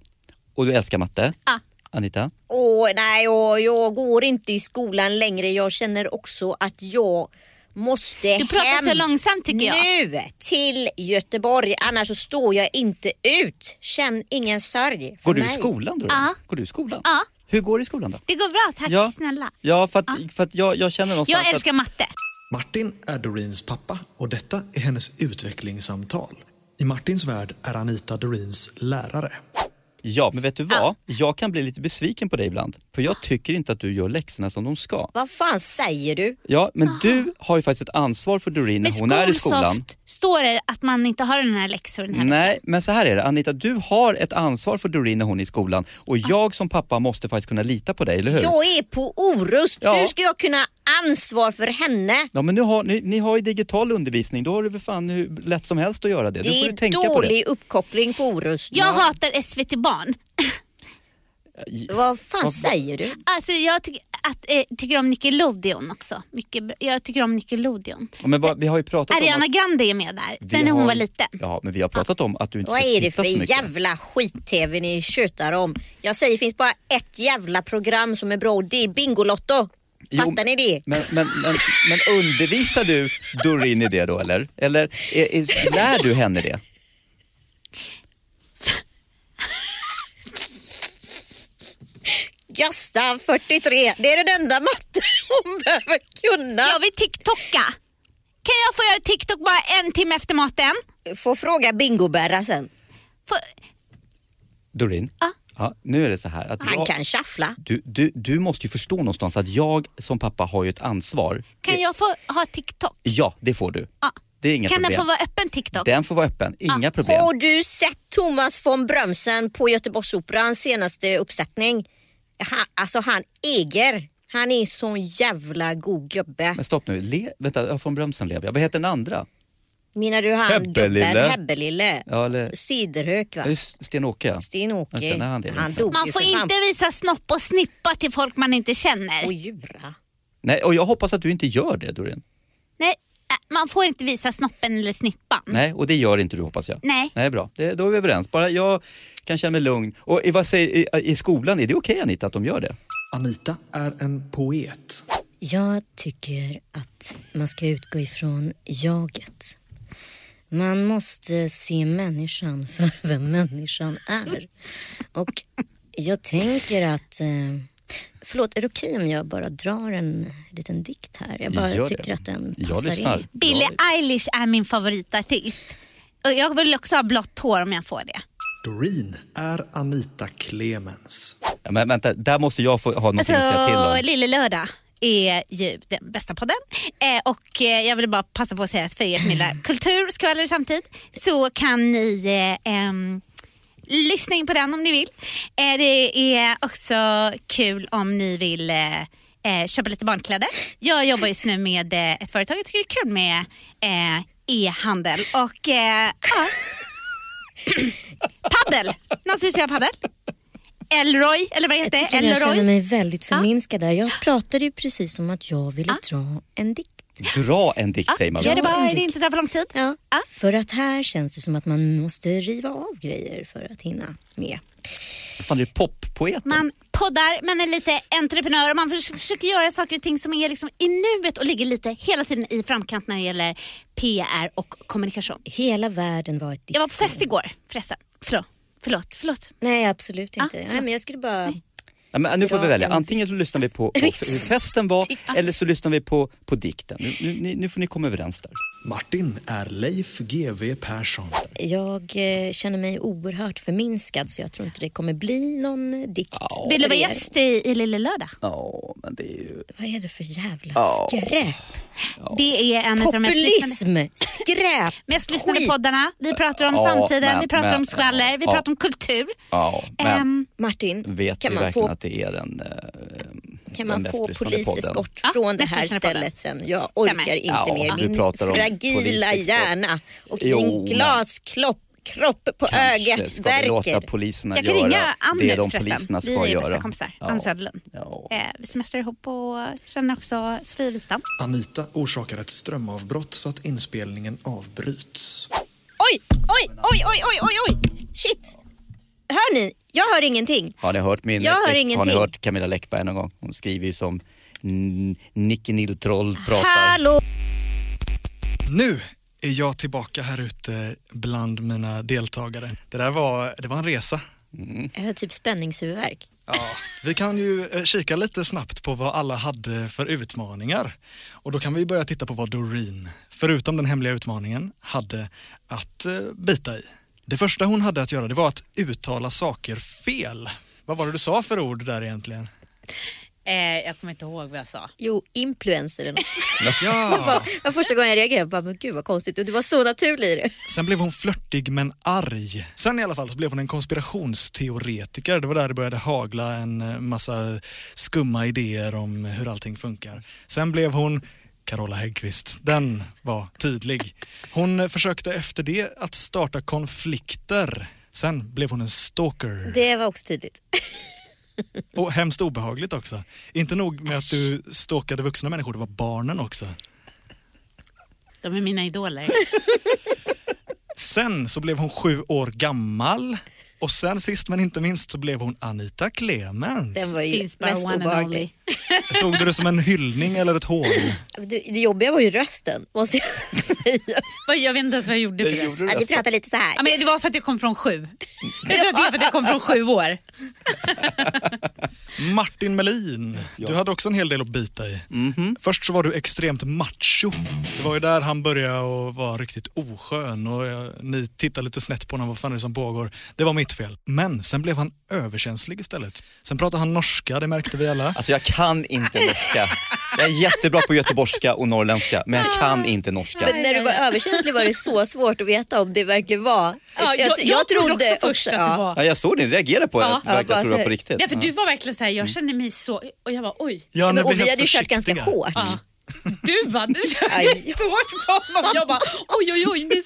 och du älskar matte. Ja. Anita, Åh, nej, jag, jag går inte i skolan längre. Jag känner också att jag måste Du pratar hem så långsamt, tycker jag. Nu till Göteborg, annars så står jag inte ut. Känn ingen sorg för går du i mig. skolan Doreen? Ja. Går du i skolan? Ja. Hur går det i skolan då? Det går bra, tack Ja. snälla. Ja, för att, för att jag, jag känner någonstans Jag älskar matte. Martin är Doreens pappa och detta är hennes utvecklingssamtal. I Martins värld är Anita Doreens lärare. Ja, men vet du vad? Jag kan bli lite besviken på dig ibland. För Ah. jag tycker inte att du gör läxorna som de ska. Vad fan säger du? Ja, men du har ju faktiskt ett ansvar för Doreen när Med hon är i skolan. Skolsoft står det att man inte har den här läxor den här Nej, men så här är det. Anita, du har ett ansvar för Doreen när hon är i skolan och Ah. jag som pappa måste faktiskt kunna lita på dig, eller hur? Jag är på Orust. Ja. Hur ska jag kunna ha ansvar för henne? Ja, men nu har, ni, ni har ju digital undervisning, då har du för fan hur lätt som helst att göra det. du Det får ju är tänka på det. dålig uppkoppling på Orust. Jag hatar SVT Barn. Vad fan säger du? Alltså jag tycker, att, eh, tycker om Nickelodeon också. Mycket, bra. jag tycker om Nickelodeon. Ja, men bara, vi har ju pratat om... Ariana att- Grande är med där, vi sen när hon har- var liten. Ja, men vi har pratat om att du inte Vad ska är det titta så för mycket. jävla skit-tv ni tjötar om? Jag säger det finns bara ett jävla program som är bra och det är Bingolotto. Jo, Fattar ni det? Men, men, men, men undervisar du Doreen i det då eller? Eller är, är, lär du henne det? Gasta 43, det är den enda matten hon behöver kunna. Jag vill TikToka. Kan jag få göra TikTok bara en timme efter maten? Får fråga Bingo-Berra sen. Doreen? Ja. nu är det så här att Han jag, kan shuffla. du, du, du måste ju förstå någonstans att jag som pappa har ju ett ansvar. Kan jag få ha TikTok? Ja, det får du. Ja. Det är inga kan problem. den få vara öppen TikTok? Den får vara öppen, inga problem. Har du sett Thomas von Brömsen på Göteborgsoperans senaste uppsättning? Han, alltså han äger. Han är sån jävla god gubbe. Men stopp nu, Le, vänta, jag från Brömsen lever jag. Vad heter den andra? Menar du han Hebbelille. gubben Hebbelille? Ja, eller... Siderhök va? Ja, just Sten-Åke. Just det, Sten-Åke. nej, han lever Han inte. dog Man ju får för fan. inte visa snopp och snippa till folk man inte känner. Och djura. Nej, och jag hoppas att du inte gör det Doreen. Nej, äh, man får inte visa snoppen eller snippan. Mm. Nej, och det gör inte du hoppas jag. Nej. Nej, bra. Det, då är vi överens. Bara jag kan känna mig lugn. Och i, vad säger, i, i skolan, är det okej Anita att de gör det? Anita är en poet. Jag tycker att man ska utgå ifrån jaget. Man måste se människan för vem människan är. Och jag tänker att... Eh, förlåt, är det okej om jag bara drar en liten dikt här? Jag bara Gör det. tycker att den Jag passar lyssnar. in. Billie Eilish är min favoritartist. Och jag vill också ha blått hår om jag får det. Doreen är Anita Clemens. Ja, men vänta, där måste jag få ha någonting att säga till Alltså, om. Lille Lördag är ju den bästa podden. Eh, och eh, jag vill bara passa på att säga att för er som gillar kultur, skvaller och samtid så kan ni eh, ehm, lyssna in på den om ni vill. Eh, det är också kul om ni vill eh, eh, köpa lite barnkläder. Jag jobbar just nu med eh, ett företag jag tycker det är kul med eh, e-handel och eh, ja. paddel. Någon som vill spela paddel? Elroy, eller vad heter Jag det? tycker jag Elroy? känner mig väldigt förminskad där. Jag pratade ju precis om att jag ville dra en dikt. Dra en dikt säger man Gör det väl? bara, en det är dikt. inte där för lång tid. Ja. För att här känns det som att man måste riva av grejer för att hinna med. Fan, det är poppoeten. Man poddar, man är lite entreprenör och man förs- försöker göra saker och ting som är liksom i nuet och ligger lite hela tiden i framkant när det gäller PR och kommunikation. Hela världen var ett disco. Jag var på fest igår förresten. Förlåt, förlåt, förlåt. Nej, absolut inte. Nej, förlåt. men jag skulle bara... Ja, men nu får vi Dra välja. en Antingen så lyssnar vi på, på hur festen var eller så lyssnar vi på, på dikten. Nu, nu, nu får ni komma överens där. Martin är Leif GW Persson. Jag eh, känner mig oerhört förminskad så jag tror inte det kommer bli någon eh, dikt. Vill du vara för er. gäst i, i Lille Lördag? Ja, men det är ju... Vad är det för jävla Ja. skräp? Det är en av de mest lyssnade, Populism! Skräp! mest lyssnade Skit. poddarna. Vi pratar om Ja, samtiden, men- vi pratar men- om skvaller, vi ja. pratar om kultur. Ja, men Ehm, Martin, vet kan vi man verkligen få, att det är den, eh, kan den man mest få lyssnade podden? poliseskort Ja, från det mest här lyssnade podden. stället sen? Jag Stämmer. orkar inte Ja, mer. vi pratar om Min fragila poliseskort. hjärna och Jo, min men- glaskropp kropp på Kanske ögat ska vi låta verkar. poliserna jag kan göra ringa Ann det de nu förresten. poliserna Vi ska är ju göra. bästa kompisar. Ann Söderlund. Ja. Eh, vi semestrar ihop och känner också Sofie Wistam. Anita orsakar ett strömavbrott så att inspelningen avbryts. Oj, oj, oj, oj, oj, oj, oj! Shit! Hör ni? Jag hör ingenting. Har ni hört min... eh, Jag hör Har ni ingenting. hört Camilla Läckberg någon gång? Hon skriver ju som mm, Nicky Niltroll pratar. Hallå! Nu är jag tillbaka här ute bland mina deltagare. Det där var, det var en resa. Jag har typ spänningshuvudvärk. Ja, vi kan ju eh, kika lite snabbt på vad alla hade för utmaningar. Och då kan vi börja titta på vad Doreen, förutom den hemliga utmaningen, hade att eh, bita i. Det första hon hade att göra det var att uttala saker fel. Vad var det du sa för ord där egentligen? Eh, jag kommer inte ihåg vad jag sa. Jo, influencer eller något. Det Ja. var- det var första gången jag reagerade. Jag bara, men gud vad konstigt. Och du var så naturlig i det. Sen blev hon flörtig men arg. Sen i alla fall så blev hon en konspirationsteoretiker. Det var där det började hagla en eh, massa skumma idéer om hur allting funkar. Sen blev hon Carola Häggkvist. Den var tydlig. Hon eh, försökte efter det att starta konflikter. Sen blev hon en stalker. Det var också tydligt. Och hemskt obehagligt också. Inte nog med att du stalkade vuxna människor, det var barnen också. De är mina idoler. Sen så blev hon sju år gammal. Och sen sist men inte minst så blev hon Anita Clemens. Den var ju Finns bara mest one and obehaglig. Tog du det som en hyllning eller ett hån? Det, det jobbiga var ju rösten, måste jag säga. Vad- Jag vet inte ens vad jag gjorde för det. Ja, du pratar lite så här. Ja, men det var för att jag kom från sju. Jag tror att det är för att jag kom från sju år. Martin Melin, du hade också en hel del att bita i. Först så var du extremt macho. Det var ju där han började och var riktigt oskön och jag, ni tittade lite snett på honom, vad fan är det som pågår? Det var mitt fel. Men sen blev han överkänslig istället. Sen pratade han norska, det märkte vi alla. Alltså jag kan inte norska. Jag är jättebra på göteborgska och norrländska, men jag kan inte norska. Men när du var överkänslig var det så svårt att veta om det verkligen var... Ja, jag, jag, trodde också först att det var... Ja, jag såg din reagera på det. Ja. jag verkligen Ja, trodde det var på alltså, riktigt. Därför du var verkligen så här, jag känner mig så... Och jag var oj. Ja, ni Men, och blev vi helt hade ju kört försiktiga. ganska hårt. Ja. Du bara, du körde Aj. jättehårt på honom. Jag bara, oj oj oj. Nu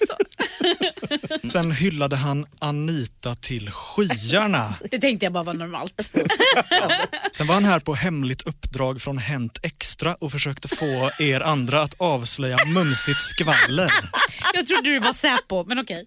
så. Sen hyllade han Anita till skyarna. Det tänkte jag bara var normalt. Sen var han här på hemligt uppdrag från Hänt Extra och försökte få er andra att avslöja mumsigt skvaller. Jag trodde du var Säpo, men okej.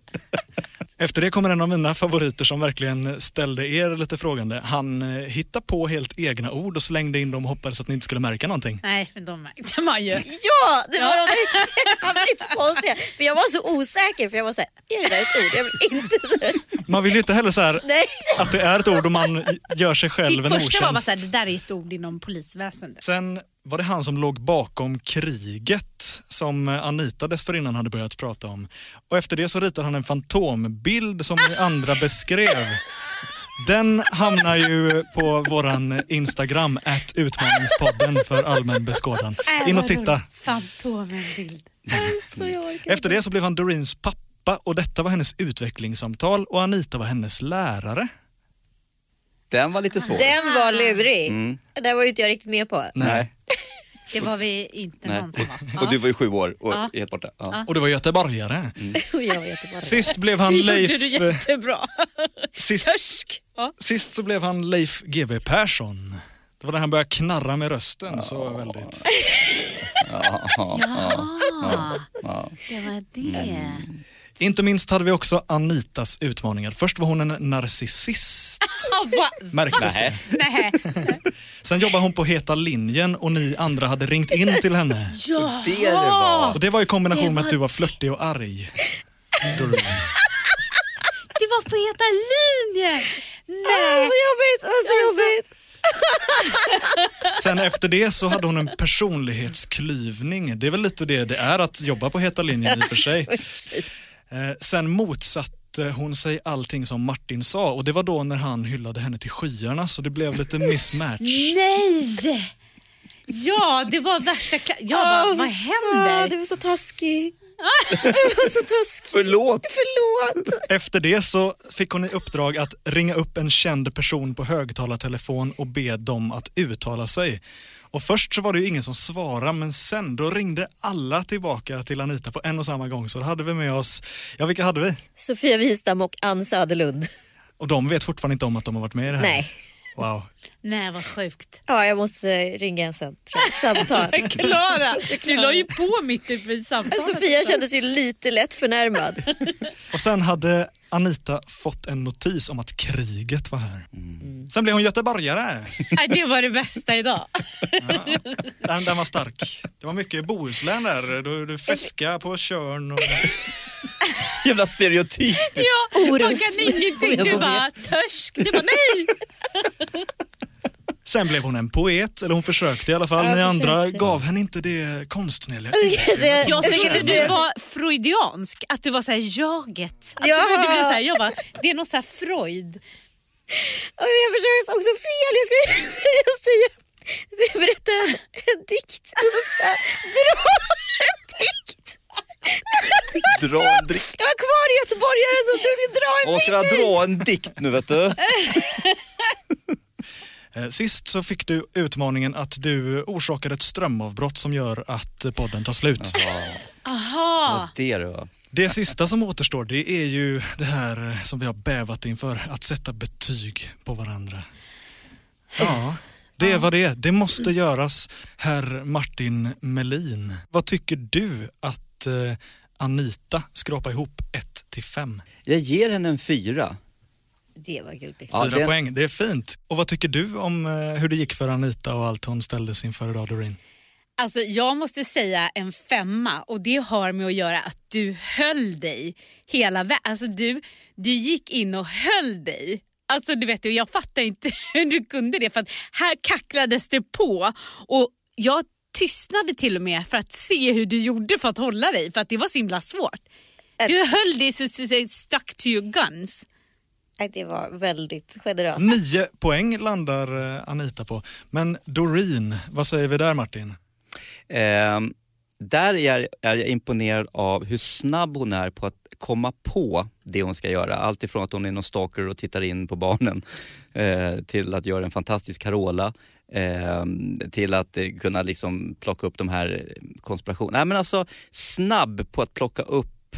Efter det kommer en av mina favoriter som verkligen ställde er lite frågande. Han eh, hittade på helt egna ord och slängde in dem och hoppades att ni inte skulle märka någonting. Nej, men de märkte man ju. Ja, det var de där jävligt konstiga. För jag var så osäker för jag var så här, är det där ett ord? Jag vill inte säga Man vill ju inte heller så här nej. att det är ett ord och man gör sig själv Ditt en första var bara otjänst. såhär, det där är ett ord inom polisväsendet. Sen var det han som låg bakom kriget som Anita dessförinnan hade börjat prata om. Och efter det så ritade han en fantombild som ni andra beskrev. Den hamnar ju på våran Instagram, att utmaningspodden för allmän beskådan. Äh, In och titta. Fantomenbild. Så jag orkar. Efter det så blev han Doreens pappa och detta var hennes utvecklingssamtal och Anita var hennes lärare. Den var lite svår. Den Ah. var lurig. Den var ju inte jag riktigt med på. Nej. Det var vi inte Nej. någon som var. Ja. Och du var ju sju år och helt borta. Ja. Och det var göteborgare. Och jag var jättebra. Sist blev han Det gjorde Leif... eh, du eh, jättebra. Sist Törsk. Ja. Sist så blev han Leif GW Persson. Det var när han började knarra med rösten så väldigt. Det var det. Mm. Inte minst hade vi också Anitas utmaningar. Först var hon en narcissist, Ja, Ah, va? märktes det. Nej. Nej. Sen jobbade hon på Heta linjen och ni andra hade ringt in till henne. Ja. Det det var. Och det var i kombination Det med var- att du var flörtig och arg. Doreen. Det var på Heta linjen. Nej. Så jobbigt, åh, så jobbigt. Sen efter det så hade hon en personlighetsklyvning. Det är väl lite det det är att jobba på Heta linjen i och för sig. Eh, Sen motsatte hon sig allting som Martin sa och det var då när han hyllade henne till skyarna så det blev lite mismatch. Nej. Ja, det var värsta... Kla- jag bara, vad Ah, händer? det var så taskigt. Det var så taskigt. Förlåt. Förlåt. Efter det så fick hon i uppdrag att ringa upp en känd person på högtalartelefon och be dem att uttala sig. Och först så var det ju ingen som svarade men sen då ringde alla tillbaka till Anita på en och samma gång så då hade vi med oss, ja vilka hade vi? Sofia Wistam och Ann Söderlund. Och de vet fortfarande inte om att de har varit med i det här? Nej. Wow. Nej, vad sjukt. Ja, jag måste eh, ringa en sen. Tror jag. Samtal. Klara, du la ju på mitt uppe i samtalet. Sofia kändes ju lite lätt förnärmad. Och sen hade Anita fått en notis om att kriget var här. Mm. Sen blev hon göteborgare. Nej, det var det bästa idag. Den, den var stark. Det var mycket Bohuslän där. Du, du fiskade på Tjörn och... Jävla stereotyp. Ja, man Orust. kan ingenting. Du bara, törsk. Du bara, nej. Sen blev hon en poet, eller hon försökte i alla fall. Ja, Ni jag andra försökte. gav henne inte det konstnärliga Jag, utrymmet. tänkte du var freudiansk, att du var så här jaget. Att Ja. du, du blev så här, jag bara, det är någon så här Freud. Och jag försöker också fel. Jag ska jag säga, berätta en, en dikt. Och så ska jag dra en dikt. Dra en dikt. Jag var kvar i göteborgaren som trodde dra en Hon ska dikt. dra en dikt nu vet du. Eh, Sist så fick du utmaningen att du orsakar ett strömavbrott som gör att eh, podden tar slut. Aha. Det du va? Det sista som återstår det är ju det här eh, som vi har bävat inför, att sätta betyg på varandra. Ja, det är vad det är. Det måste göras, herr Martin Melin. Vad tycker du att eh, Anita skrapar ihop 1 till 5? Jag ger henne en fyra. Det var gulligt. Ja, Fyra det- poäng, det är fint. Och vad tycker du om eh, hur det gick för Anita och allt hon ställdes inför idag, Doreen? Alltså jag måste säga en femma och det har med att göra att du höll dig hela vägen. Alltså du, du gick in och höll dig. Alltså du vet, jag fattar inte hur du kunde det för att här kacklades det på och jag tystnade till och med för att se hur du gjorde för att hålla dig för att det var så himla svårt. Du höll dig så, så, så stuck to your guns. Nej, Det var väldigt generöst. Nio poäng landar eh, Anita på. Men Doreen, vad säger vi där Martin? Ehm, där är, jag- är jag imponerad av hur snabb hon är på att komma på det hon ska göra. Allt ifrån att hon är någon stalker och tittar in på barnen eh, till att göra en fantastisk Carola. ehm, till att eh, kunna liksom plocka upp de här eh, konspirationerna. Nej men alltså snabb på att plocka upp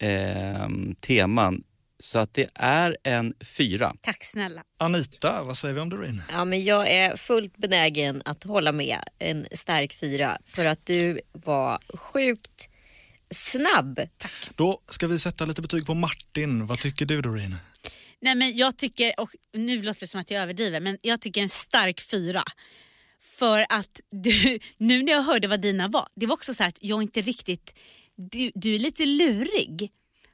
ehm, teman. Så att det är en fyra. Tack snälla. Anita, vad säger vi om Doreen? Ja, men jag är fullt benägen att hålla med en stark fyra för att du var sjukt snabb. Då ska vi sätta lite betyg på Martin. Vad tycker du Doreen? Nej, men jag tycker, och nu låter det som att jag överdriver, men jag tycker en stark fyra. För att du, nu när jag hörde vad dina var, det var också så här att jag inte riktigt, du, du är lite lurig.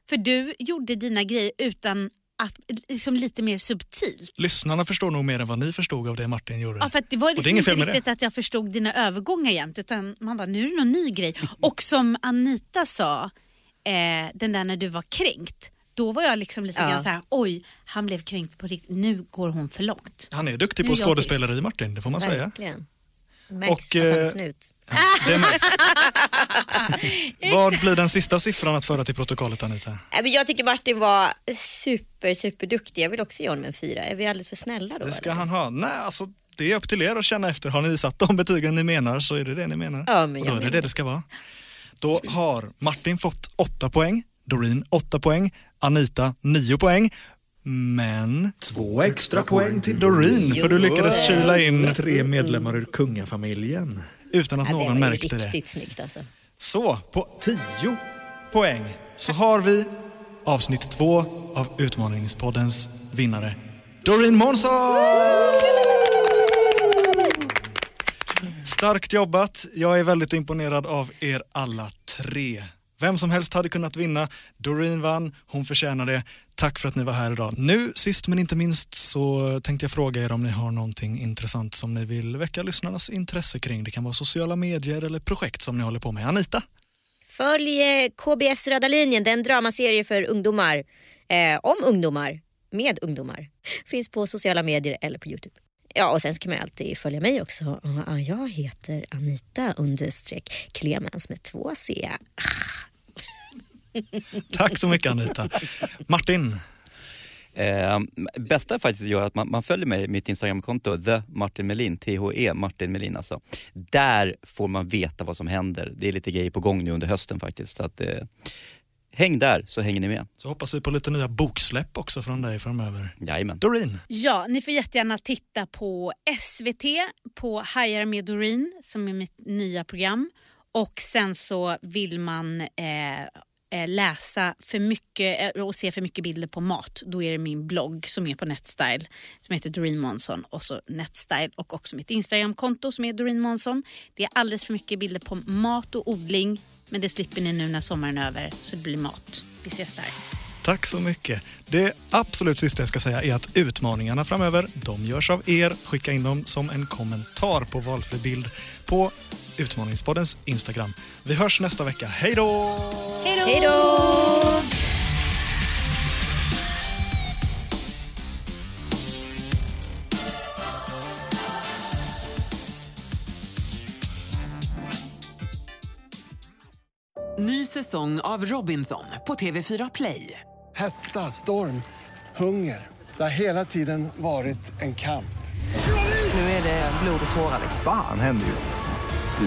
För du gjorde dina grejer utan att, liksom lite mer subtilt. Lyssnarna förstår nog mer än vad ni förstod av det Martin gjorde. Ja, för att det var Och det är liksom inget fel inte med det. riktigt att jag förstod dina övergångar jämt utan man bara, nu är det någon ny grej. Och som Anita sa, eh, den där när du var kränkt, då var jag liksom lite Ja. grann så här, oj, han blev kränkt på riktigt, nu går hon för långt. Han är duktig Nu på är jag skådespeleri Martin, det får man säga. Verkligen. Märks Och, att han eh, är snut. Det märks. vad blir den sista siffran att föra till protokollet Anita? Nej, Äh, men jag tycker Martin var super, super duktig. Jag vill också ge honom en fyra. Är vi alldeles för snälla då? Det ska eller? han ha. Nej, alltså det är upp till er att känna efter. Har ni satt de betygen ni menar så är det det ni menar. Ja, men Och då jag är det menar det det ska vara. Då har Martin fått 8 poäng, Doreen 8 poäng, Anita 9 poäng. Men Två extra poäng till Doreen, för du lyckades kyla in Tre medlemmar ur kungafamiljen. utan att Ja, någon det var ju märkte det. riktigt snyggt alltså. Så, på 10 poäng så har vi avsnitt två av Utmaningspoddens vinnare, Doreen Månsson! Starkt jobbat. Jag är väldigt imponerad av er alla tre. Vem som helst hade kunnat vinna. Doreen vann, hon förtjänar det. Tack för att ni var här idag. Nu sist men inte minst så tänkte jag fråga er om ni har någonting intressant som ni vill väcka lyssnarnas intresse kring. Det kan vara sociala medier eller projekt som ni håller på med. Anita? Följ eh, KBS Röda linjen, det är en dramaserie för ungdomar, eh, om ungdomar, med ungdomar. Finns på sociala medier eller på Youtube. Ja, och sen så kan man ju alltid följa mig också. Ah, Jag heter Anita understreck Clemens med två C. Tack så mycket Anita. Martin? Eh, bästa är faktiskt att göra att man, man följer mig i mitt Instagramkonto, the Martin Melin, THE Martin Melin alltså. Där får man veta vad som händer. Det är lite grejer på gång nu under hösten faktiskt. Så att, eh, häng där så hänger ni med. Så hoppas vi på lite nya boksläpp också från dig framöver. Jajamän. Doreen? Ja, ni får jättegärna titta på SVT, på Hajar med Doreen som är mitt nya program. Och sen så vill man eh, eh, läsa för mycket eh, och se för mycket bilder på mat. Då är det min blogg som är på Netstyle som heter Doreen Månsson och så Netstyle och också mitt Instagramkonto som är Doreen Månsson. Det är alldeles för mycket bilder på mat och odling men det slipper ni nu när sommaren är över så det blir mat. Vi ses där. Tack så mycket. Det absolut sista jag ska säga är att utmaningarna framöver, de görs av er. Skicka in dem som en kommentar på valfri bild på Utmaningspoddens Instagram. Vi hörs nästa vecka. Hej då! Hej då! Ny säsong av Robinson på TV4 Play. Hetta, storm, hunger. Det har hela tiden varit en kamp. Nu är det blod och tårar. liksom. Fan händer just det.